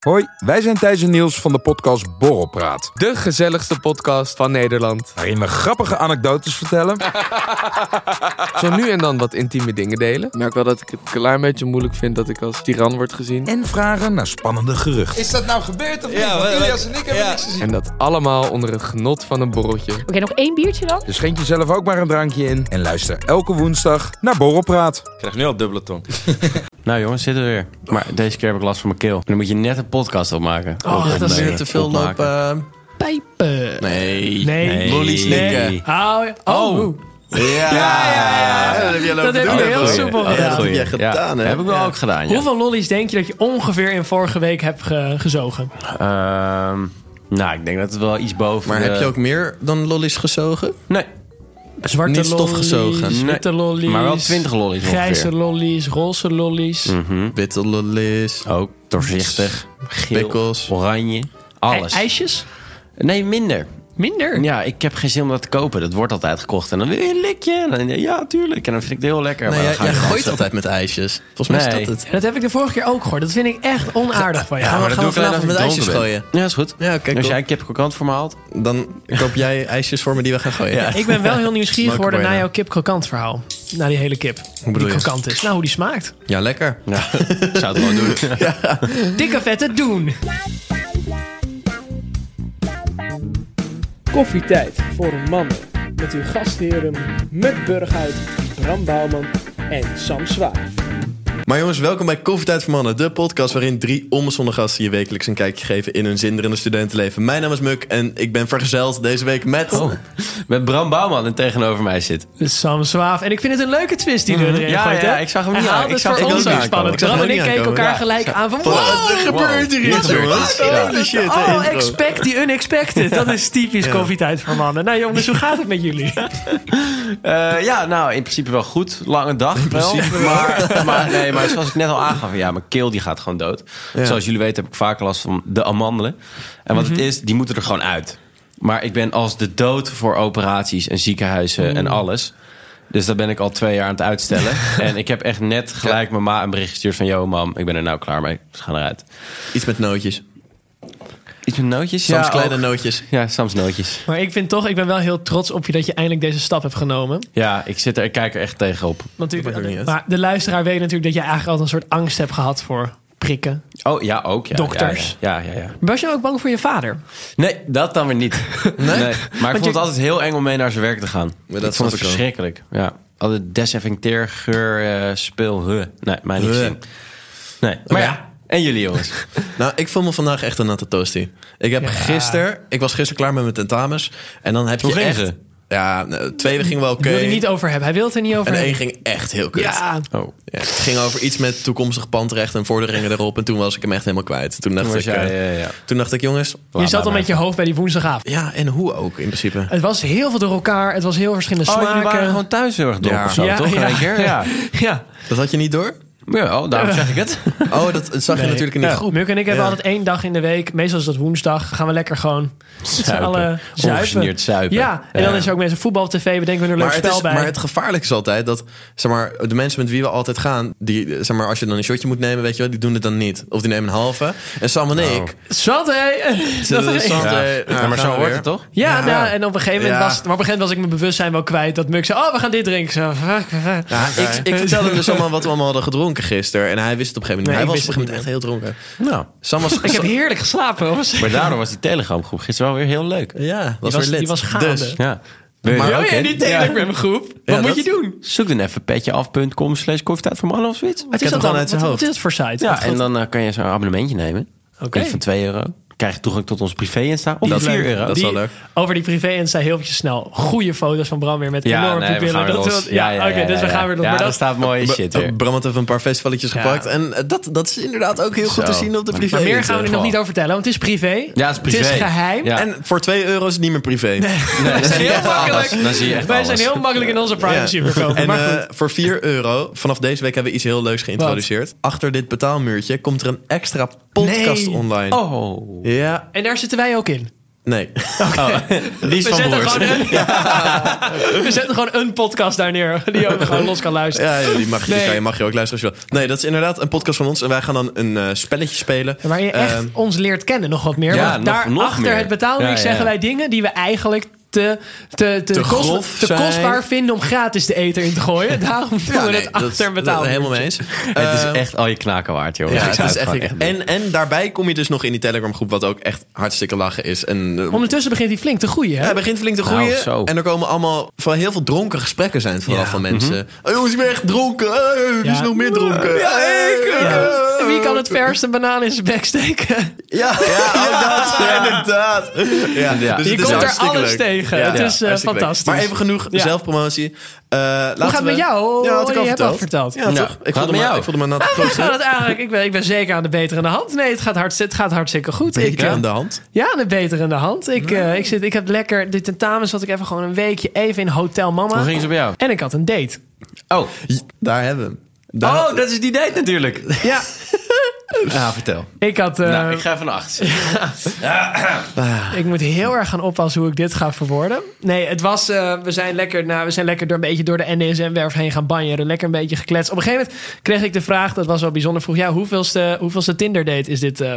Hoi, wij zijn Thijs en Niels van de podcast Borrelpraat. De gezelligste podcast van Nederland. Waarin we grappige anekdotes vertellen. Zo nu en dan wat intieme dingen delen. Ik merk wel dat ik het een klein beetje moeilijk vind dat ik als tiran word gezien. en vragen naar spannende geruchten. Is dat nou gebeurd of niet? Ja, Want wat- Ilias en ik hebben ja. niks gezien. En dat allemaal onder het genot van een borreltje. Oké, nog één biertje dan? Dus schenk jezelf ook maar een drankje in. En luister elke woensdag naar Borrelpraat. Ik krijg nu al dubbele tong. Nou jongens, zitten we weer. Maar deze keer heb ik last van mijn keel. En dan moet je net een podcast opmaken. Oh, Ook om, eh, opmaken. Pijpen. Nee. Nee. Lolly slikken. Au, oh. ehm. Ja. Dat heb je Dat heb gedaan. je heel Oh, soepel goeie. gedaan. Dat heb jij Ja, gedaan, hè? Heb ik wel ook gedaan, ja. Hoeveel lollies denk je dat je ongeveer in vorige week hebt ge- gezogen? Ehm, nou, ik denk dat het wel iets boven... Maar de- heb je ook meer dan lollies gezogen? Nee, Zwarte Niet stofgezogen. lollies, Nee. witte lollies. maar wel 20 lollies ongeveer. Mm. Grijze lollies, roze lollies. E- Witte lollies. Mhm. Ook doorzichtig, geel, Pickles. oranje, alles. I- ijsjes? nee, minder. Minder? Ja, ik heb geen zin om dat te kopen. Dat wordt altijd gekocht. En dan wil je een likje. En dan, ja, tuurlijk. En dan vind ik het heel lekker. Nee, jij, maar dan ga je jij dan gooit zo- altijd met ijsjes. Volgens mij Nee. is dat het. Dat heb ik de vorige keer ook gehoord. Dat vind ik echt onaardig van jou. Ja, maar dat gaan doe we ik alleen als vanavond met ik ijsjes dronken gooien? ben. Ja, is goed. Ja, oké, Als cool. jij een kip krokant voor me haalt. Dan koop jij ijsjes voor me die we gaan gooien. Ik ben wel heel nieuwsgierig Smaken geworden bijna. naar jouw kip krokant verhaal. Naar die hele kip. Hoe bedoel die je? krokant is. Nou, hoe die smaakt. Ja, lekker. Ja, ik zou het wel doen. Dikke vette doen. Koffietijd voor mannen. Met uw gastheren Muk Burghuis, Bram Bouwman en Sam Zwaar. Maar jongens, welkom bij Koffietijd voor Mannen, de podcast waarin drie onbezonnen gasten je wekelijks een kijkje geven in hun zinderende studentenleven. Mijn naam is Muk en ik ben vergezeld deze week met... Oh, met Bram Bouwman en tegenover mij zit. Sam Zwaaf. En ik vind het een leuke twist die er erin Ja, gooit, ja, hè? ik zag hem Hij niet aan- ik haalde het zag voor hem ons niet niet aankomen. spannend. Bram Ik en zag ik hem keken niet elkaar aankomen. gelijk aan van... Wat er Wow! gebeurt hier Wat iets, gebeurt jongens? hier? Holy shit, de Oh, intro. expect the unexpected. Dat is typisch koffietijd voor mannen. Nou jongens, hoe gaat het met jullie? Eh, ja, nou, in principe wel goed. Lange dag wel. Maar, maar, nee, maar zoals ik net al aangaf, ja, mijn keel die gaat gewoon dood. Zoals jullie weten heb ik vaker last van de amandelen. En wat het is, die moeten er gewoon uit. Maar ik ben als de dood voor operaties en ziekenhuizen en alles. Dus dat ben ik al twee jaar aan het uitstellen. en ik heb echt net gelijk mijn ma een bericht gestuurd van... Yo, mam, ik ben er nou klaar mee. Ze gaan eruit. Iets met nootjes. Iets met nootjes? Soms ja, kleine ook. nootjes. Ja, Sam's nootjes. Maar ik vind toch, ik ben wel heel trots op je dat je eindelijk deze stap hebt genomen. Ja, ik, zit er, ik kijk er echt tegenop. Want Natuurlijk, Dat maakt ook niet maar de luisteraar weet natuurlijk dat je eigenlijk altijd een soort angst hebt gehad voor prikken. Oh, ja, ook. Ja, Dokters. Ja, ja, ja. ja. Was je ook bang voor je vader? Nee, dat dan weer niet. Nee? Maar ik vond je- het altijd heel eng om mee naar zijn werk te gaan. dat snap ik vond ik het wel. verschrikkelijk. Ja. Altijd desinfecteer, geur, eh, speel. Huh. Nee, mij niet Huh. gezien. Nee. Maar ja, en jullie jongens. Nou, ik voel me vandaag echt een natte toastie. Ik heb gisteren... Ik was gisteren klaar met mijn tentamens. En dan heb Hoe je gingen echt... ze? Ja, nou, twee gingen wel oké. Wil je het niet over hebben? Hij wil het er niet over En één hebben. ging echt heel kut. Ja, Oh. Ja, het ging over iets met toekomstig pandrecht en vorderingen erop. En toen was ik hem echt helemaal kwijt. Toen dacht, was ik, jij, eh, ja, ja. Toen dacht ik, jongens... je zat al met je hoofd bij die woensdagavond. Ja, en hoe ook in principe. Het was heel veel door elkaar. Het was heel verschillende Oh, jullie smaken. waren gewoon thuis heel erg dronken Ja. of zo, Ja, toch? In ja. één keer? Ja. Ja, Dat had je niet door? ja. oh, daarom zeg ik het. Oh, dat, dat zag je natuurlijk in die groep. Muk en ik hebben Ja. altijd één dag in de week. Meestal is dat woensdag. Gaan we lekker gewoon Zuipen. alle zuipen. Ongegeneerd zuipen. Ja, en dan is er ook mensen voetbal op tv. We denken we er een leuk Maar het, spel is, bij. maar het gevaarlijke is altijd dat zeg maar, de mensen met wie we altijd gaan, die, eh, zeg maar, als je dan een shotje moet nemen, weet je wel, die doen het dan niet. Of die nemen een halve. En Sam Nou, en ik. Zat, hé! Dat zullen is- Sam, Ja. eh, Ja, nou, maar zo gaan we hoort weer. het toch? Ja, nou, en op een gegeven moment Ja. was, het- maar op een gegeven moment was ik mijn bewustzijn wel kwijt. Dat Muk zei, oh, we gaan dit drinken. Zo, fuck, fuck. Ja, ik, ik vertelde hem dus allemaal wat we allemaal hadden gedronken gisteren. En hij wist het op een gegeven Nee, moment. ik niet. hij was op een wist gegeven moment echt heel dronken. Nou, Sam was. Ik heb heerlijk geslapen. hoor. maar daardoor was die telegramgroep gisteren wel weer heel leuk. ja, was was- weer lid. die was gaande. Dus, Ja. Maar- Oh Oké. ja, die Telegram groep. Wat Ja, moet dat- je doen? Zoek dan even petjeaf.com slash koffietijd voor mannen of zoiets. Wat kent is hem dat gewoon dan? uit zijn Wat- hoofd. Wat is het voor site? Ja, Wat- en wat- dan eh, kan je zo'n abonnementje nemen. Oké. Eentje Van 2 euro. Krijg je toegang tot ons privé-insta. Of dat is 4 leuk. euro. Dat is wel die- leuk. Over die privé insta heel eventjes snel. Goede foto's van Bram weer met Ja, nee, enorme we gaan pupillen. weer Dat is los. wel- Ja, oké, dus we gaan weer nog. los. Ja, Maar daar dat, staat mooie shit Br- weer. oh, Bram had even een paar festivaletjes Ja. gepakt. En eh, dat, dat is inderdaad ook heel goed te Zo. zien op de Maar privé. maar meer gaan we er nog geval. niet over vertellen, want het is privé. Ja, het is privé. Het is geheim. Ja. En voor 2 euro is het niet meer privé. Nee, dat is Heel echt makkelijk. alles. Dan zie je echt Wij alles. zijn heel makkelijk in onze privacy verkopen. En maar eh, goed. voor 4 euro, vanaf deze week hebben we iets heel leuks geïntroduceerd. Achter dit betaalmuurtje komt er een extra podcast Nee. online. Oh. Ja, En daar zitten wij ook in. Nee. Oh. Die is We van zetten, broers. gewoon een, we zetten gewoon een podcast daar neer. Die je ook gewoon los kan luisteren. Ja, ja, die, mag, je- die Nee. kan je, mag je ook luisteren als je wil. Nee, dat is inderdaad een podcast van ons. En wij gaan dan een eh, spelletje spelen. Waar je echt Ehm, ons leert kennen nog wat meer. Ja, want nog- nog daarachter meer. het betaalmuur Ja, ja, zeggen ja. wij dingen die we eigenlijk te, te, te, Te kost- grof te zijn. kostbaar vinden om gratis de eten in te gooien. Daarom doen we nee, het dat- achter een dat- betaalmuur. Helemaal mee eens. Het Ehm, is echt al je knaken waard, joh. Ja, het is echt, en en, en daarbij kom je dus nog in die Telegram groep, wat ook echt hartstikke lachen is. En, eh, Ondertussen begint hij flink te groeien. Hè? hij begint flink te Nou, groeien. zo. en er komen allemaal van heel veel dronken gesprekken zijn het vooral Ja. van mensen. Mhm. Oh, jongens, ik ben echt dronken. Hey, wie is Ja. nog meer dronken? Eh, Ja, ik. Ja. Wie kan het verst een banaan in zijn bek steken? Ja, ja, oh, dat, inderdaad. Ja, dus Je het Je is komt er hartstikke alles leuk. tegen. Ja. het is eh, Hartstikke leuk. fantastisch. Maar even genoeg Ja. zelfpromotie. Eh laten gaat het we- met jou? Ja, had ik al Je hebt al verteld. verteld. Ja, Ja. toch? Ik Gaat het voelde, met me, jou? ik voelde me na Ik, ga het eigenlijk, ik, ben, ik ben zeker aan de betere hand. Nee, het gaat, hartst, het gaat hartstikke goed. Ik, Beter eh, aan de hand. Ja, de beter in de hand. Ik, eh, ik, zit, ik heb lekker, dit tentamen zat ik even gewoon een weekje even in Hotel Mama. hoe ging ze bij jou? En ik had een date. Oh, Daar hebben we hem. Daar- oh dat is die date natuurlijk. Ja, Ja, Nou, vertel. ik had... eh, nou, ik ik, ga even naar achter. moet heel erg gaan oppassen hoe ik dit ga verwoorden. Nee, het was... eh, we zijn lekker, nou, we zijn lekker door, een beetje door de NDSM-werf heen gaan banjeren. Lekker een beetje gekletst. Op een gegeven moment kreeg ik de vraag, dat was wel bijzonder. Vroeg, ja, hoeveelste, hoeveelste Tinder-date is dit eh,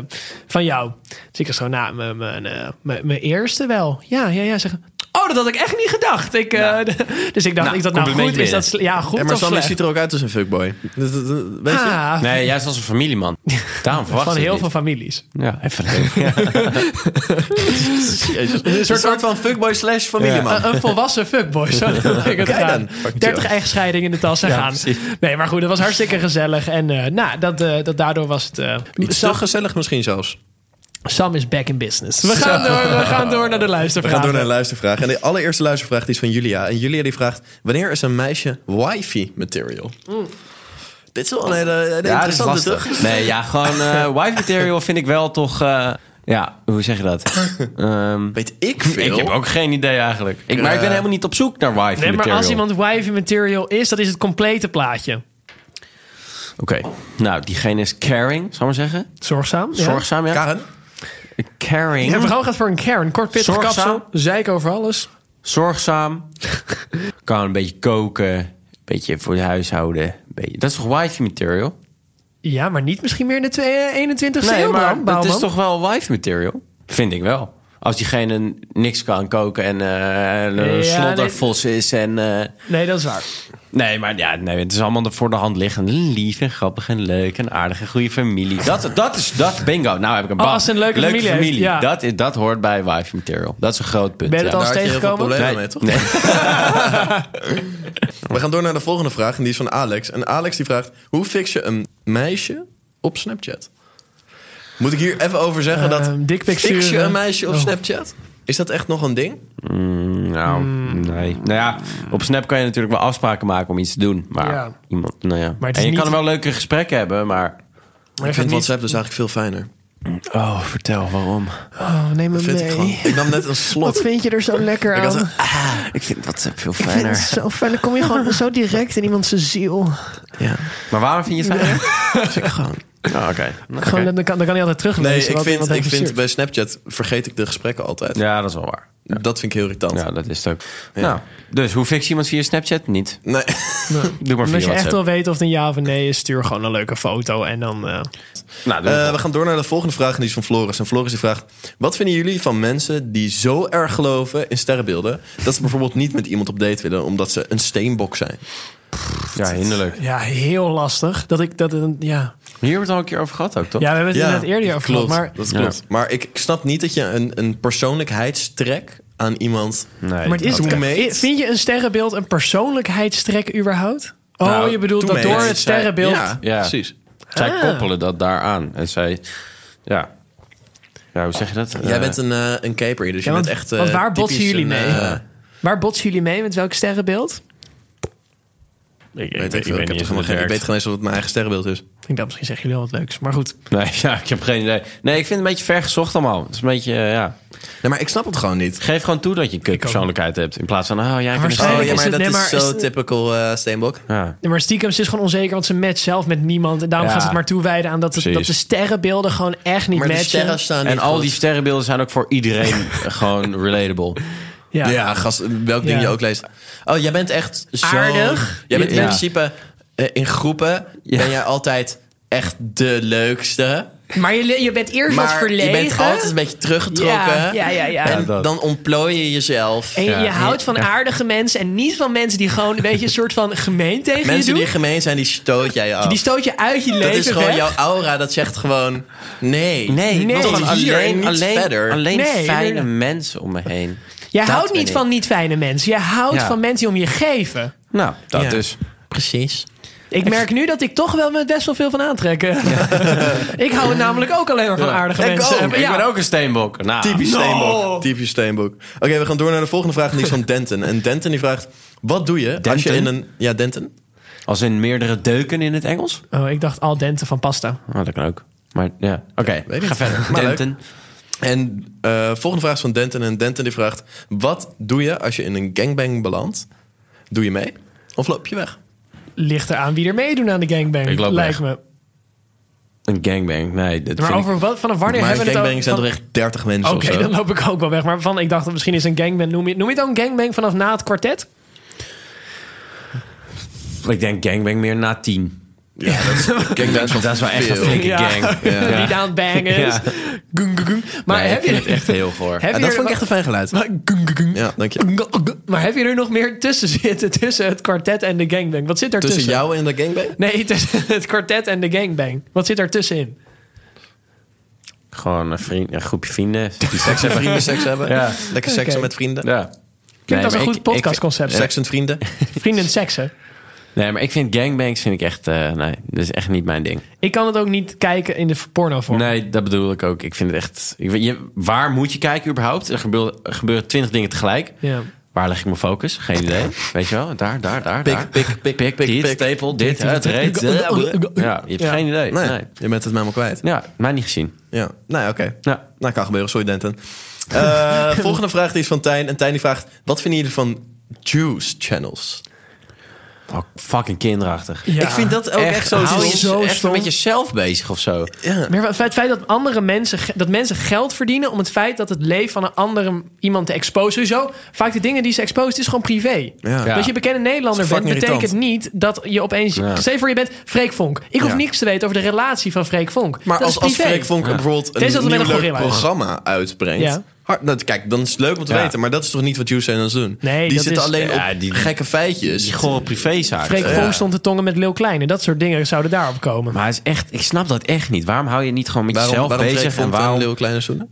van jou? Dus ik was zo, nou, mijn- mijn eh, mijn- mijn eerste wel. Ja, ja, ja, zeg... Oh, dat had ik echt niet gedacht. Ik, eh, dus ik dacht, Nou, ik dacht nou goed, complimentje is dat sle- ja, goed Ja, maar of Sandy slecht? ziet er ook uit als een fuckboy. Dat- dat- dat- Weet je? Ah, Nee, juist als een familieman. Daarom verwacht van ik heel het veel families. niet. Ja, even heel Jezus. Een soort, soort Eh, van fuckboy slash familieman. Een, een volwassen fuckboy, zo noem ik het Kijk gaan. dan. Fuck 30 you. eigen scheidingen in de tas en gaan. Nee, maar goed, dat was hartstikke gezellig. En eh, nou, dat, eh, dat daardoor was het... eh, Iets Sam, te gezellig misschien zelfs. Sam is back in business. We gaan door, we gaan door naar de We gaan luistervraag. door naar de luistervraag. En de allereerste luistervraag die is van Julia. En Julia die vraagt, wanneer is een meisje wifi material? Dit is wel een hele, hele Ja, dat is interessante, lastig. toch? Nee, ja, gewoon eh wife material vind ik wel toch... eh, ja, hoe zeg je dat? Ehm, Weet ik veel. ik heb ook geen idee eigenlijk. Ik, maar ik ben Eh. helemaal niet op zoek naar wife Nee, material. maar als iemand wifey material is, dat is het complete plaatje. Oké, nou, diegene is caring, zal ik maar zeggen. Zorgzaam. Ja. Zorgzaam, ja. Karen? Caring. En vooral gaat voor een Karen. Kort pittig Zorgzaam. kapsel. Zeik over alles. zorgzaam. kan een beetje koken. Een beetje voor het huishouden. een beetje- Dat is toch wife material? Ja, maar niet misschien meer in de twee- 21ste eeuw, Bram dat Bouwman. is toch wel wife material? Vind ik wel. Als diegene niks kan koken en eh nee. een sloddervos is en... eh, Nee, dat is waar. nee, maar ja, nee, het is allemaal de voor de hand liggend. Lief en grappig en leuk en aardig en goede familie. Dat, dat is dat, bingo. Nou heb ik een Oh, baan. als ze een leuke familie heeft, ja. dat, is, dat hoort bij wife material. Dat is een groot punt. Ben je dat ja. al Daar eens had je heel veel tegengekomen? problemen mee, Nee. toch? Nee. We gaan door naar de volgende vraag. En die is van Alex. En Alex die vraagt, hoe fix je een meisje op Snapchat? Moet ik hier even over zeggen Ehm, dat... dickpics fix je sturen. een meisje op Oh. Snapchat? Is dat echt nog een ding? Nou, Hmm. nee. Nou ja, op Snap kan je natuurlijk wel afspraken maken om iets te doen. Maar Ja. iemand, nou ja. Maar het en is je niet- kan er wel leuke gesprekken hebben, maar... Maar ik je gaat vind niet... WhatsApp dus eigenlijk veel fijner. Oh, vertel waarom. Oh, neem Dat hem vind ik gewoon. mee. Ik nam net een Wat slot. vind je er zo lekker Ik aan? had een- Ah. Ik vind WhatsApp veel Ik vind het fijner. zo fijn. Dan kom je gewoon zo direct in iemands ziel. Ja, Maar waarom vind je het fijner? dat vind ik gewoon. Oh, oké. Gewoon, dan, kan, dan kan hij altijd teruglezen. Nee, ik wat vind, iemand ik heeft vind gestuurd. bij Snapchat vergeet ik de gesprekken altijd. Ja, dat is wel waar. Dat vind ik heel irritant. Ja, dat is het ook. Ja. Nou, dus hoe fix je iemand via Snapchat? Niet. Nee. Doe maar via Als je echt WhatsApp. wil weten of het een ja of een nee is, stuur gewoon een leuke foto. En dan, eh, Nou, doe Eh, het we gaan door naar de volgende vraag en die is van Floris. En Floris die vraagt, wat vinden jullie van mensen die zo erg geloven in sterrenbeelden... dat ze bijvoorbeeld niet met iemand op date willen omdat ze een steenbok zijn? wel. ja, hinderlijk. ja, heel lastig. Dat ik dat, een- ja. Hier hebben we het al een keer over gehad ook, toch? ja, we hebben het inderdaad eerder over gehad. klopt, Maar, dat Ja. klopt. Maar ik, ik snap niet dat je een, een persoonlijkheidstrek aan iemand... Nee. maar is het, toemeet. vind je een sterrenbeeld een persoonlijkheidstrek überhaupt? Oh, Nou, je bedoelt dat toemeet. door het sterrenbeeld... Ja, Ja. precies. Zij Ah. koppelen dat daaraan. En zij... Ja. Ja, hoe zeg je dat? Jij Eh, bent een, eh een caper, dus Ja, je want- bent echt... eh, want waar botsen typisch eh, jullie een, mee? eh, Waar botsen jullie mee? Met welk sterrenbeeld? Ik, Weet ik, veel, ik, heb toch eens hoe helemaal het geen, ik werkt. weet gewoon eens wat mijn eigen sterrenbeeld is. Ik denk dat misschien zeggen jullie wel wat leuks. Maar goed. Nee, ja, ik heb geen idee. Nee, ik vind het een beetje ver gezocht allemaal. Het is een beetje, eh, ja. Nee, maar ik snap het gewoon niet. Geef gewoon toe dat je een kut persoonlijkheid hebt. In plaats van, oh ja, ik ben een Waarschijnlijk- sterrenbeeld. oh, ja, is maar dat het- nee, maar is zo is het- typical eh, Steenbok. Ja. Ja, Maar stiekem ze is gewoon onzeker, want ze matcht zelf met niemand. En daarom Ja. gaan ze het maar toewijden aan dat, het, dat Precies. de sterrenbeelden gewoon echt niet Maar de matchen. sterren staan En niet al goed. die sterrenbeelden zijn ook voor iedereen gewoon relatable. ja. Ja, gast, welk ding Ja. je ook leest. Oh, jij bent echt zo... Aardig. Jij bent in Ja. principe eh, in groepen Ja. ben jij altijd echt de leukste. Maar je, le- je bent eerst wat Maar verlegen. je bent altijd een beetje teruggetrokken. Ja, ja, ja, ja. En Ja, dat. dan ontplooi je jezelf. En je, je Ja. houdt van aardige mensen en niet van mensen die gewoon een beetje een soort van gemeen tegen Mensen je die doen. gemeen zijn, die stoot jij af. Die stoot je uit je leven dat is gewoon weg. jouw aura, dat zegt gewoon... Nee, Nee, Nee. nee. Tot Gewoon hier en alleen, niet verder. alleen, alleen Nee, fijne nee. mensen om me heen. Jij Dat houdt ben niet ik. van niet fijne mensen. Jij houdt Ja. van mensen die om je geven. Nou, dat Ja. dus. precies. Ik merk nu dat ik toch wel met best wel veel van aantrekken. ik hou het namelijk ook alleen maar van aardige mensen. Ja. Oh, Ik ben ook een steenbok. Nou, Oh, Typisch no. Steenbok. Typisch Steenbok. Oké, we gaan door naar de volgende vraag. En die is van Denton. En Denton die vraagt... Wat doe je als je Denton? in een... Ja, Denton. Als in meerdere deuken in het Engels? Oh, ik dacht al dente van pasta. Nou, dat kan ook. Maar ja, oké. weet ga niet. verder. Maar leuk. Denton. En eh, volgende vraag is van Denton. En Denton die vraagt... Wat doe je als je in een gangbang belandt? Doe je mee? Of loop je weg? Ligt eraan wie er meedoen aan de gangbang. Ik loop lijkt weg. me. Een gangbang. Nee, dat Maar vind ik... over wat, vanaf wanneer maar hebben we het gangbang zijn over- toch echt 30 mensen Oké, of zo? dan loop ik ook wel weg. Maar van, ik dacht, misschien is een gangbang. Noem je, noem je het ook een gangbang vanaf na het kwartet? Ik denk gangbang meer na tien. Gangbangs van Dat is wel echt een veel. flinke gang. Ja. Niet aan het bangen. is. Ja. Gung, gung, gung. Maar Nee, heb ik je vind het echt heel goor. Heb Ja, je dat er- vond ik echt een fijn geluid. Maar, gung, gung, gung. Ja, dank je. Gung, gung. Maar heb je er nog meer tussen zitten? Tussen het kwartet en de gangbang? Wat zit er tussen? Tussen jou en de gangbang? Nee, tussen het kwartet en de gangbang. Wat zit er tussenin? Gewoon een, vriend, een groepje vrienden. Die Seks en vrienden seks hebben? Ja. Lekker seksen Oké. met vrienden? Ja. Klinkt als maar een goed ik- ik- podcastconcept. Seks en vrienden? Vrienden en seksen. Nee, maar ik vind gangbangs vind ik echt... eh, nee, dat is echt niet mijn ding. Ik kan het ook niet kijken in de porno vorm. Nee, dat bedoel ik ook. Ik vind het echt... Ik, weet- je, waar moet je kijken überhaupt? Er gebeuren, er gebeuren twintig dingen tegelijk. Ja. Waar leg ik mijn focus? Geen idee. Weet je wel? Daar, daar, daar, daar. Pik, pik, pik, pik, Pik, dit, pik. stapel, dit, het reet. Ja. Ja, je hebt Ja. geen idee. Nee, Nee. je bent het mij maar kwijt. Ja, mij niet gezien. Ja, nou ja, oké. Ja. Nou, kan gebeuren. Sorry, Denton. Eh, volgende vraag die is van Tijn. En Tijn die vraagt... Wat vinden jullie van juice channels? Oh, fucking kinderachtig. Ja. Ik vind dat ook echt, zo... hou je zo zo echt stom. met jezelf bezig of zo. Maar het feit- het feit dat andere mensen, ge- dat mensen geld verdienen om het feit dat het leven van een andere iemand te exposen. Sowieso, vaak de dingen die ze exposen, het is gewoon privé. Ja. Ja. Dat je bekende Nederlander Dat is bent, fucking betekent niet dat je opeens. Ja. Stel je voor, je bent Freek Vonk. Ik hoef Ja. niks te weten over de relatie van Freek Vonk. Maar dat als, is als privé. Freek Vonk bijvoorbeeld Deze had een alleen nieuw een leuk gorilla is. programma uitbrengt... Ja. hard- nou, kijk, dan is het leuk om te Ja. weten. Maar dat is toch niet wat juice channels doen? Nee, die dat zitten is- alleen Ja, op die- gekke feitjes. Die gore privézaak. Freek Ja. Vonk stond te tongen met Lil Kleine. Dat soort dingen zouden daarop komen. Maar het is echt, ik snap dat echt niet. Waarom hou je niet gewoon met waarom jezelf waarom Freek bezig? Vonk En en waarom... Leeuw Kleine zoenen?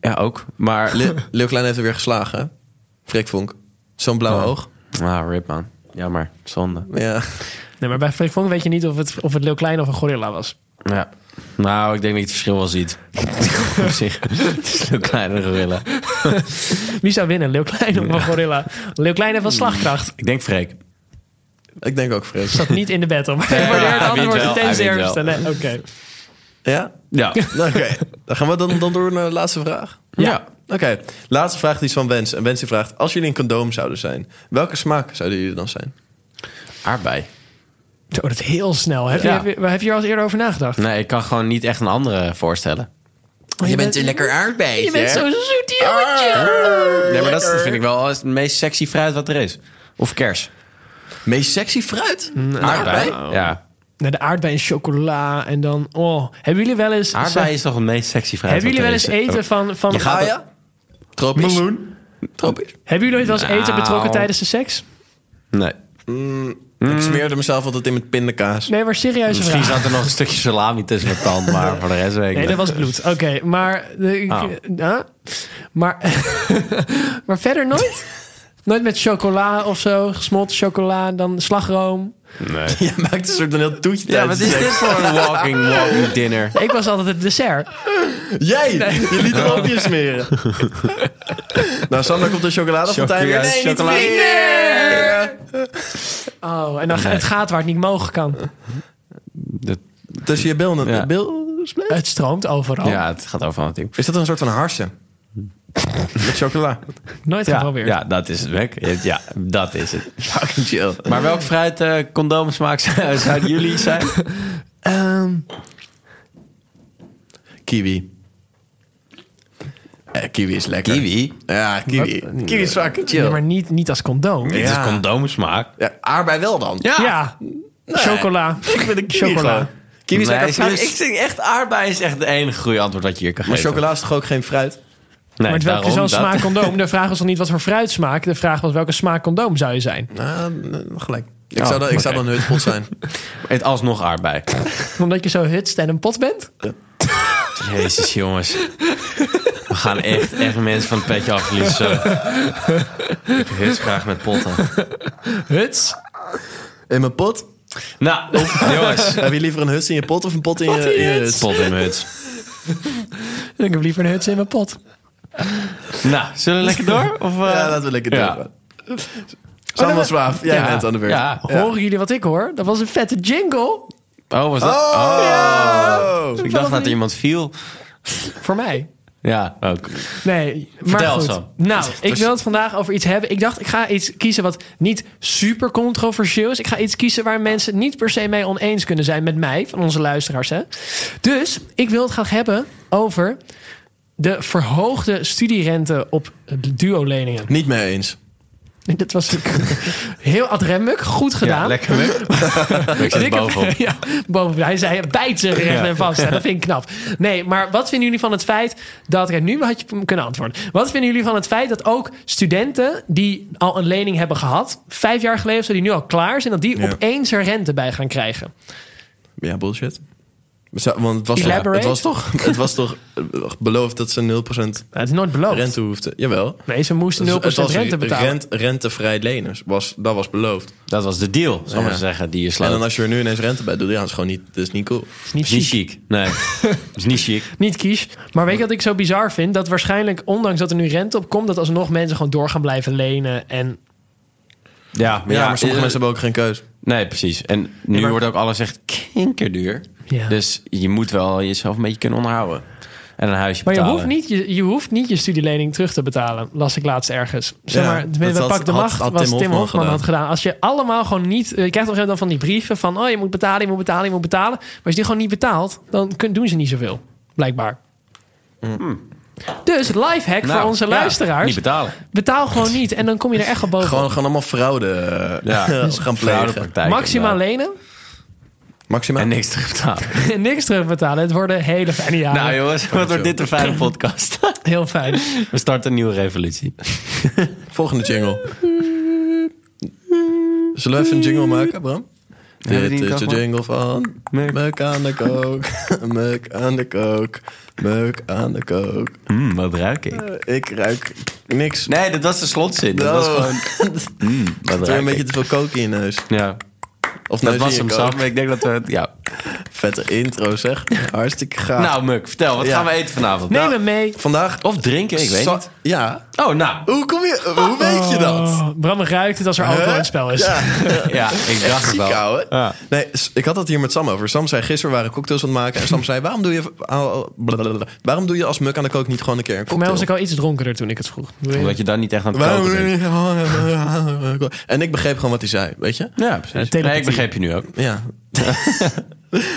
Ja, ook. Maar... Le- Leeuw Kleine heeft er weer geslagen. hè? Freek Vonk. Zo'n blauw Ja. oog. Ah, rip man. Jammer. Zonde. Ja. Nee, maar bij Freek Vonk weet je niet of het, of het Lil Kleine of een gorilla was. Ja. Nou, ik denk dat je het verschil wel ziet. Op zich. Het is zo'n kleine gorilla. Wie zou winnen, Lil Kleine of een gorilla? Lil Kleine Hmm. van slagkracht. Ik denk Freek. Ik denk ook Freek. Zat niet in de battle. Maar ik hij waardeer het wint antwoord wel, meteen hij wint eerste. wel. Nee, Oké. Ja? Ja. Oké, dan gaan we dan, dan door naar de laatste vraag. Ja. Oké, laatste vraag die is van Wens. En Wens die vraagt, als jullie een condoom zouden zijn, welke smaak zouden jullie dan zijn? Aardbei. Zo, dat heel snel. Heb, Ja. je, heb, je, heb je er al eens eerder over nagedacht? Nee, ik kan gewoon niet echt een andere voorstellen. Oh, je bent een lekker aardbeid, Je bent zo'n zoet Ah. jongetje. Nee, maar dat is- vind ik wel het meest sexy fruit wat er is. Of kers. Meest sexy fruit? nou, Aardbei? aardbei? Ja. Nee, de aardbei en chocola en dan... Oh, hebben jullie wel eens... Aardbei is toch het meest sexy fruit hebben jullie wat wel er eens is. eten van... van Je gaat- Gaia? Tropisch? Tropisch. Hebben jullie ooit wel eens eten Nou. betrokken tijdens de seks? Oh, Nee. Ik smeerde mezelf altijd in met pindakaas. Nee, maar serieuze Misschien vraag. zat er nog een stukje salami tussen de tand, maar voor de rest weet ik Nee, niet. dat was bloed. Oké, maar... De, ik- Oh. eh, maar, maar verder nooit? Nooit met chocola of zo? Gesmolten chocola, dan slagroom? Je maakt een soort van heel toetje Ja, wat tijdens is de dit seks. voor een walking, walking dinner? Ik was altijd het dessert. Jij! Je liet hem op je smeren. nou, Sander komt de chocoladefontein weer. Chocola- Nee, niet chocola- weer. Oh, en dan ga- het gaat waar het niet mogen kan. Tussen je billen. Ja. bil- spleet? Het stroomt overal. Ja, het gaat overal natuurlijk. Is dat een soort van harsen? Met chocola. Nooit Ja, geprobeerd. ja, dat is het, Mac. Ja, dat is het. Fucking chill. Maar welke fruit eh condoomsmaak zou- zouden jullie zijn? Kiwi. Eh, kiwi is lekker. Kiwi? Ja, kiwi. Kiwi is fucking Ja, chill. maar niet, niet als condoom. Het Ja. is condoomsmaak. Ja, aardbei wel dan. Ja, chocola. Ik vind een kiwi Chocola. gewoon. Kiwi is Nee, lekker fruit. serieus, Ik zeg echt, aardbei is echt de enige goede antwoord dat je hier kan Maar geven. chocola is toch ook geen fruit? Nee, Maar het welke daarom zo'n dat. smaak condoom? De vraag was nog niet wat voor fruit smaak. De vraag was welke smaak condoom zou je zijn? Nou, eh, gelijk. Ik, Oh, zou dan, ik zou oké. dan hutpot zijn. Het alsnog aardbei. Omdat je zo hutst en een pot bent? Jezus, jongens. We gaan echt, echt mensen van het petje afliezen. Ik hits graag met potten. Huts? In mijn pot? Nou, jongens. Heb je liever een hut in je pot of een pot in je, in je hut? Pot in mijn hut. Ik heb liever een huts in mijn pot. Nou, zullen we lekker door? Of, eh? Ja, laten we lekker Ja. doen. Samuel Zwaaf, jij bent aan de beurt. Ja. Horen jullie wat ik hoor? Dat was een vette jingle Oh, was dat? Oh! Ik dacht dat er iemand viel. voor mij. Ja, ook. Nee, maar Vertel, goed. Sam. Nou, ik wil het vandaag over iets hebben. Ik dacht, ik ga iets kiezen wat niet super controversieel is. Ik ga iets kiezen waar mensen niet per se mee oneens kunnen zijn met mij, van onze luisteraars. Hè? Dus ik wil het graag hebben over de verhoogde studierente op duo-leningen. Niet mee eens. Dat was heel ad remmuk, goed gedaan. Ja, lekker mee. Ik zit Dikke- bovenop. ja, bovenop. Hij zei, bijt zich recht en vast. Ja, Dat vind ik knap. Nee, maar wat vinden jullie van het feit dat... Kijk, nu had je hem kunnen antwoorden. Wat vinden jullie van het feit dat ook studenten... die al een lening hebben gehad... vijf jaar geleden, of zo, die nu al klaar zijn... dat die Ja. opeens er rente bij gaan krijgen? Ja, bullshit. Zo- Want het was, toch, Elaborate? het was toch, het was toch eh, beloofd dat ze 0% Nou, het is nooit beloofd. rente hoefden. Jawel. Nee, ze moesten 0% Het was rente betalen. rent- rentevrij leners. Was, dat was beloofd. Dat was de deal, zal ik maar Ja. zeggen, die je En dan sloot. als je er nu ineens rente bij doet, ja, dat is gewoon niet, dat is niet cool. Het is niet Is niet chic. chic. Nee, is niet chic. Niet kies. Maar weet je wat ik zo bizar vind? Dat waarschijnlijk, ondanks dat er nu rente op komt... dat alsnog mensen gewoon door gaan blijven lenen. En Ja, Ja, maar sommige eh, mensen hebben ook geen keus. Nee, precies. En nu maar- wordt ook alles echt kinkerduur. Ja. Dus je moet wel jezelf een beetje kunnen onderhouden. En een huisje Maar je betalen. hoeft, niet, je, je hoeft niet je studielening terug te betalen, las ik laatst ergens. Zeg Ja, maar, dat met had- Pak de had- Macht, had was Tim Tim Hofman Hofman, had gedaan. Als je allemaal gewoon niet... eh, Je krijgt op een gegeven moment dan van die brieven van... oh, je moet betalen, je moet betalen, je moet betalen. Maar als je die gewoon niet betaalt, dan kun- doen ze niet zoveel. Blijkbaar. Hm. Dus lifehack Nou, voor onze ja, luisteraars. Niet betalen. Betaal gewoon niet en dan kom je er echt op boven. Gewoon, gewoon allemaal fraude eh, Ja. gaan plegen. Fraudepraktijk, Maximaal inderdaad. lenen Maximaal. En niks terug betalen. en niks terugbetalen. Het worden hele fijne jaren. Nou jongens, wat wordt dit een fijne podcast. Heel fijn. We starten een nieuwe revolutie. Volgende jingle. Zullen we even een jingle maken, Bram? we die Dit niet is de afmaken? jingle van Meuk. Meuk aan de kook, Meuk aan de kook, Meuk aan de kook. Mm, wat ruik ik? Ik ruik niks. Nee, dat was de slotzin. Dat Oh. was gewoon... Mm, wat Er is ruik een beetje ik? te veel kook in je neus. Ja, Of dat neus in was je hem, kook. Sam. Ik denk dat we... het- Ja. Vette intro, zeg. Hartstikke gaaf. Nou, Muk, vertel. Wat Ja. gaan we eten vanavond? Neem Nou, hem mee. vandaag... Of drinken, ik weet Sa- niet. Ja. Oh, nou. Hoe kom je... Hoe weet je dat? Oh, Bram ruikt het als er alcohol in het spel is. Ja, ik dacht het Ziek, wel. ouwe. Ja. Nee, s- ik had dat hier met Sam over. Sam zei, gisteren waren we cocktails aan het maken. En Sam zei, waarom doe je, v- al- blablabla. waarom doe je als muk aan de kook niet gewoon een keer een Voor mij cocktail? was ik al iets dronkerder toen ik het vroeg. Omdat je daar niet echt aan het Waarom koken doe je bent. niet gewoon- En ik begreep gewoon wat hij zei, weet je? Ja, precies. telepathie. Nee, ik begreep je nu ook. Ja.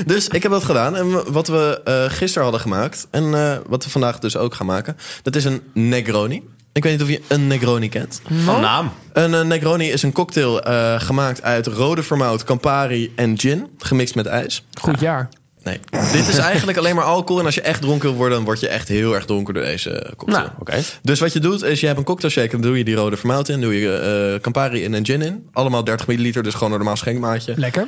dus ik heb dat gedaan. En we- wat we eh, gisteren hadden gemaakt... en eh, wat we vandaag dus ook gaan maken... dat is een Negroni. Ik weet niet of je een Negroni kent. Van naam. Een eh, Negroni is een cocktail eh, gemaakt uit rode vermout, Campari en gin. Gemixt met ijs. Goed jaar. Nee, dit is eigenlijk alleen maar alcohol. En als je echt dronken wil worden, dan word je echt heel erg dronken door deze cocktail. Nou, oké. Dus wat je doet, is je hebt een cocktail shaker. Dan doe je die rode vermout in. doe je eh, Campari in en gin in. Allemaal 30 milliliter, dus gewoon een normaal schenkmaatje. Lekker.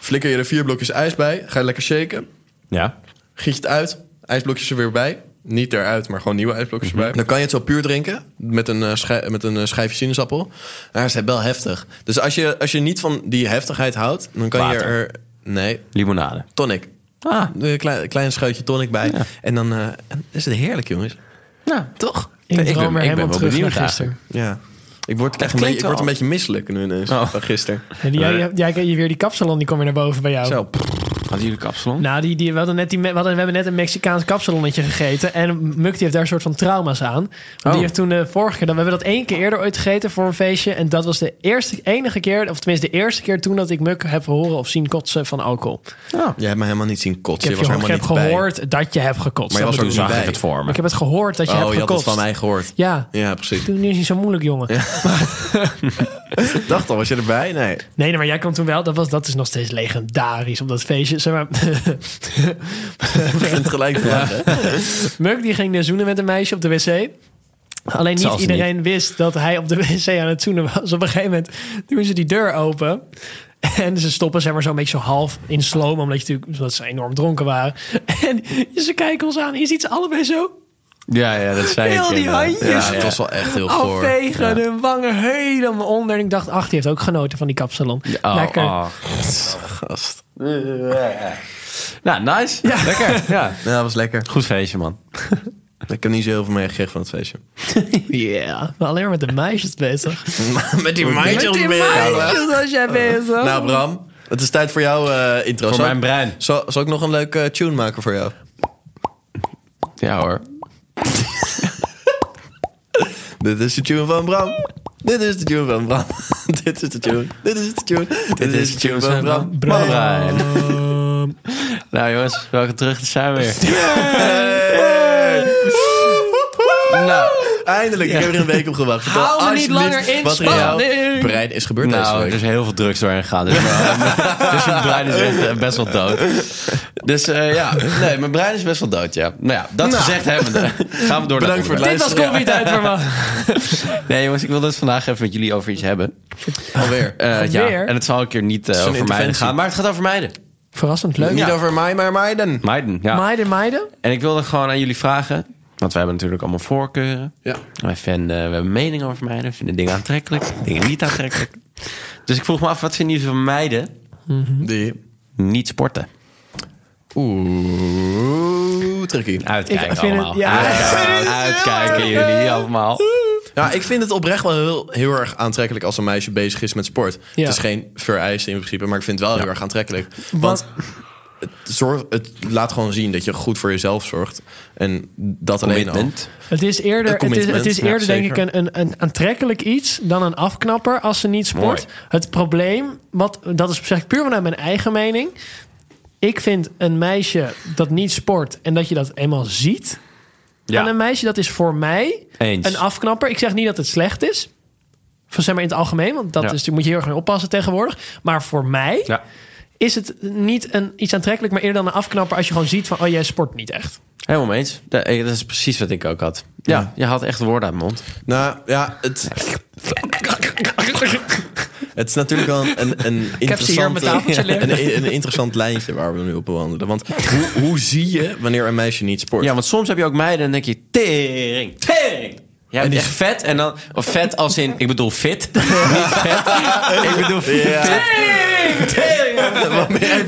Flikker je er vier blokjes ijs bij. Ga je lekker shaken. Ja. Giet je het uit. Ijsblokjes er weer bij. Niet eruit, maar gewoon nieuwe ijsblokjes erbij. Mhm. Dan kan je het zo puur drinken. Met een, eh, schij- met een eh, schijfje sinaasappel. Maar ze zijn wel heftig. Dus als je, als je niet van die heftigheid houdt, dan kan Water. je er... Nee, Limonade. tonic. Ah, Een klein, klein schuitje tonic bij. En dan eh, en is het heerlijk, jongens. nou, Toch? Ik, Ik ben- droom ik er ben helemaal wel terug naar benieuwd gisteren. Ja. Ik word, echt een, klinkt beetje, ik wel- word een beetje misselijk nu ineens Oh. van gisteren. En die- jij, jij, jij- weer die kapsalon die komt weer naar boven bij jou. Zo, pff, hadden jullie kapsalon? Nou, die, die, we, hadden net die, me- we, hadden, we hebben net een Mexicaans kapsalonnetje gegeten. En Muk die heeft daar een soort van trauma's aan. Want Die Oh. heeft toen de vorige keer... We hebben dat één keer eerder ooit gegeten voor een feestje. En dat was de eerste, enige keer... Of tenminste de eerste keer toen dat ik Muk heb horen of zien kotsen van alcohol. jij hebt me helemaal niet zien Oh. Ik kotsen. heb, Je was je, ik helemaal heb niet bij. gehoord dat je hebt gekotst. Maar je was er Toen Dat bedoel niet zag bij. ik het voor ik. me. Ik heb het gehoord dat je Oh, hebt je had het gekotst. van mij gehoord. Ja, Ja, precies. toen is niet zo moeilijk, jongen. Ik dacht al, was je erbij? Nee. Nee, nee, maar jij kwam toen wel. Dat, was, dat is nog steeds legendarisch op dat feestje. Zeg maar, begint gelijk te lachen. Muk die ging dus zoenen met een meisje op de wc. Alleen niet Zelfs iedereen wist dat hij op de wc aan het zoenen was. Op een gegeven moment doen ze die deur open. En ze stoppen zeg maar zo'n beetje zo half in sloom. Omdat, je natuurlijk, omdat ze enorm dronken waren. En ze kijken ons aan. Is iets allebei zo Ja, ja, dat zei Heel ik. die inderdaad. handjes. Oh, Ja, Ja, het ja. was wel echt heel goor. afvegen. De wangen helemaal onder. En ik dacht, ach, die heeft ook genoten van die kapsalon. Oh, Lekker. oh. Gast. Nou, nice. Lekker. Ja. Ja, dat was lekker. Goed feestje, man. Ik heb niet zo heel veel meegekregen van het feestje. Ja, maar alleen maar met de meisjes bezig. Met die meisjes meisjes was jij bezig. Nou, Bram, het is tijd voor jouw eh, intro. Voor zal, mijn brein. zal, zal ik nog een leuke eh, tune maken voor jou? Ja hoor. Dit is de tune van Bram. Dit is de tune van Bram. Dit is de tune. Dit is de tune. Dit is de tune van Bram. Bram. Nou jongens, welke terug zijn we weer. Nou, Eindelijk, ik heb er een week op gewacht. Vertel Hou me niet alsjeblieft langer in Wat er in jouw spanning. brein is gebeurd deze nou, week. er is heel veel drugs doorheen gegaan. Dus, eh, dus mijn brein is echt eh, best wel dood. Dus eh, ja, nee, mijn brein is best wel dood, ja. Nou ja, dat gezegd hebbende, gaan we door naar Bedankt voor het onderwerp. Dit was COVID uit voor me. Nee jongens, ik wil het vandaag even met jullie over iets hebben. Alweer. Eh, ja, Alweer? en het zal een keer niet eh, is een over meiden interventie. gaan, maar het gaat over meiden. Verrassend leuk. Niet ja. over mij, maar meiden. Meiden, ja. Meiden, meiden. En ik wilde gewoon aan jullie vragen. Want wij hebben natuurlijk allemaal voorkeuren. Ja. Wij vinden, we hebben meningen over meiden. We vinden dingen aantrekkelijk, dingen niet aantrekkelijk. Dus ik vroeg me af, wat vinden jullie van meiden Mhm. Die. niet sporten? Oeh, tricky. Uitkijken Ik vind het- allemaal. ja. Uitkijken, uitkijken jullie allemaal. Ja, Nou, ik vind het oprecht wel heel, heel erg aantrekkelijk als een meisje bezig is met sport. Ja. Het is geen vereiste in principe, maar ik vind het wel heel erg aantrekkelijk. Want het, zorg, het laat gewoon zien dat je goed voor jezelf zorgt. En dat alleen al. Commitment. Het is eerder, Een het is, het is commitment, eerder ja, denk ik, zeker. een, een, een aantrekkelijk iets dan een afknapper als ze niet sport. Mooi. Het probleem, wat, dat is zeg ik puur vanuit mijn eigen mening. Ik vind een meisje dat niet sport en dat je dat eenmaal ziet. aan een Ja, meisje, dat is voor mij eens. een afknapper. Ik zeg niet dat het slecht is. Van zeg maar in het algemeen, want dat Ja. is, daar moet je heel erg mee oppassen tegenwoordig. Maar voor mij Ja. is het niet een, iets aantrekkelijk, maar eerder dan een afknapper als je gewoon ziet van, oh jij sport niet echt. Helemaal mee eens. Dat dat is precies wat ik ook had. Ja, je had echt woorden uit mijn mond. Nou ja, het. Het is natuurlijk wel een, een, een heb ze hier op mijn interessante- tafeltje liggen. een, een interessant lijntje waar we nu op bewandelen. Want hoe, hoe zie je wanneer een meisje niet sport? Ja, want soms heb je ook meiden en dan denk je... Tering, tering. Jij bent echt vet en dan... Of vet als in... Ik bedoel fit. Niet vet. Ik bedoel fit. Tering, tering.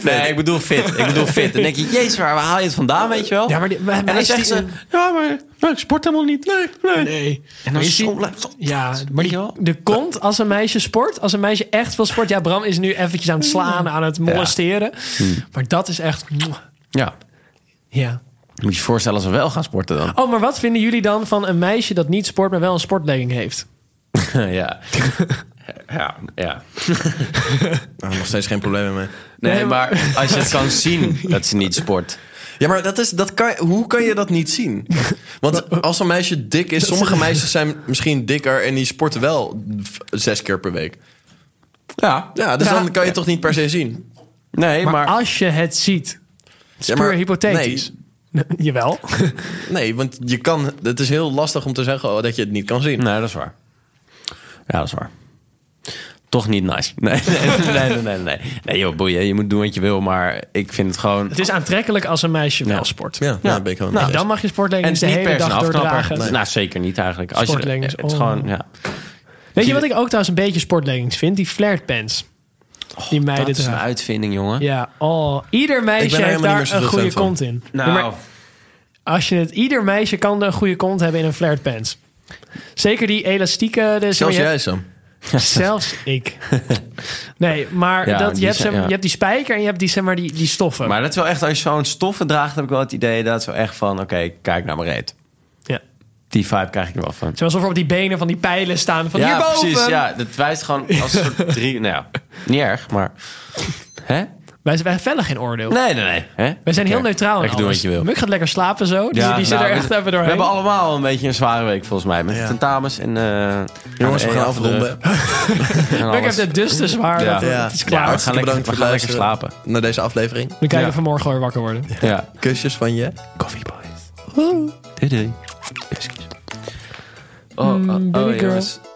Nee, ik bedoel fit. Ik bedoel fit. Dan denk je, jezus, waar waar haal je het vandaan, weet je wel? Ja, maar die- maar en dan meisjes zeggen ze... die- Ja, maar nou, ik sport helemaal niet. Nee, nee. Nee. En dan Maar je zo ziet- blijft het- Ja, maar Weet je die, wel? de kont als een meisje sport, als een meisje echt veel sport. Ja, Bram is nu eventjes aan het slaan, aan het molesteren. Hmm. Maar dat is echt... Ja. Ja. Moet je je voorstellen als we wel gaan sporten dan. Oh, maar wat vinden jullie dan van een meisje dat niet sport, maar wel een sportlegging heeft? ja. Ja, ja. Ah, nog steeds geen probleem mee. Nee, maar als je het kan zien dat ze niet sport. Ja, maar dat is, dat kan, hoe kan je dat niet zien? Want als een meisje dik is, sommige meisjes zijn misschien dikker en die sporten wel v- zes keer per week. Ja. Ja, dus Ja. dan kan je toch niet per se zien. Nee, Maar, maar... als je het ziet, het is Ja, maar- puur hypothetisch. Jawel. Nee, nee, want je kan, het is heel lastig om te zeggen oh, dat je het niet kan zien. Nee, dat is waar. Ja, dat is waar. Toch niet nice. Nee, nee, nee, nee, nee. Nee, nee joh, boeien. Je moet doen wat je wil, maar ik vind het gewoon... Het is aantrekkelijk als een meisje wel Ja. dus- sport. Ja, nou, ben ik gewoon Nou, dan mag je en sportleggings het de is niet hele per se een dag afknapper. doordragen. Nee. Nou, zeker niet eigenlijk. Als je, Sportleggings, het is oh. gewoon, ja. Weet je wat ik ook trouwens een beetje sportleggings vind? Die flared pants. die Oh, meiden dat is een dragen. uitvinding, jongen. Ja, oh, ieder Ik ben meisje er heeft helemaal niet daar meer een zo goede fan van. kont in. Nou, Ja, maar als je het, ieder meisje kan een goede kont hebben in een flared pants. Zeker die elastieke. De, Zelfs je hebt- jij, Sam. Zelfs ik. Nee, maar Ja, dat, je, die hebt, zijn- zeg maar- ja. je hebt die spijker en je hebt die, zeg maar, die, die stoffen. maar dat is wel echt, als je zo'n stoffen draagt, heb ik wel het idee dat zo echt van, oké, kijk naar mijn reet. ja. Die vibe krijg ik er wel van. Zoals bijvoorbeeld die benen van die pijlen staan. Van ja, hierboven. precies. Ja, dat wijst gewoon als een soort drie. Nou ja, niet erg, maar. Hè? Wij, zijn- wij hebben verder geen oordeel. Nee, nee, nee. Hè? Wij zijn heel Oké, neutraal in lekker doen alles. wat je wil. Muk gaat lekker slapen zo. Die, Ja, die zit nou, er echt we- even doorheen. We hebben allemaal een beetje een zware week volgens mij. Met Ja. tentamens en. eh, Jongens, we ADE gaan achter afronden. de- en Muk alles. heeft het dus te zwaar. Ja. dat het- Ja. Het is Ja, klaar. we gaan lekker, bedankt we voor gaan het lekker slapen. luisteren naar deze aflevering. Dan kijken we Ja. vanmorgen weer wakker worden. Ja. Kusjes van je. Coffee boys. Doei doei. Excuus. Oh, oh, baby oh, girl. jongens.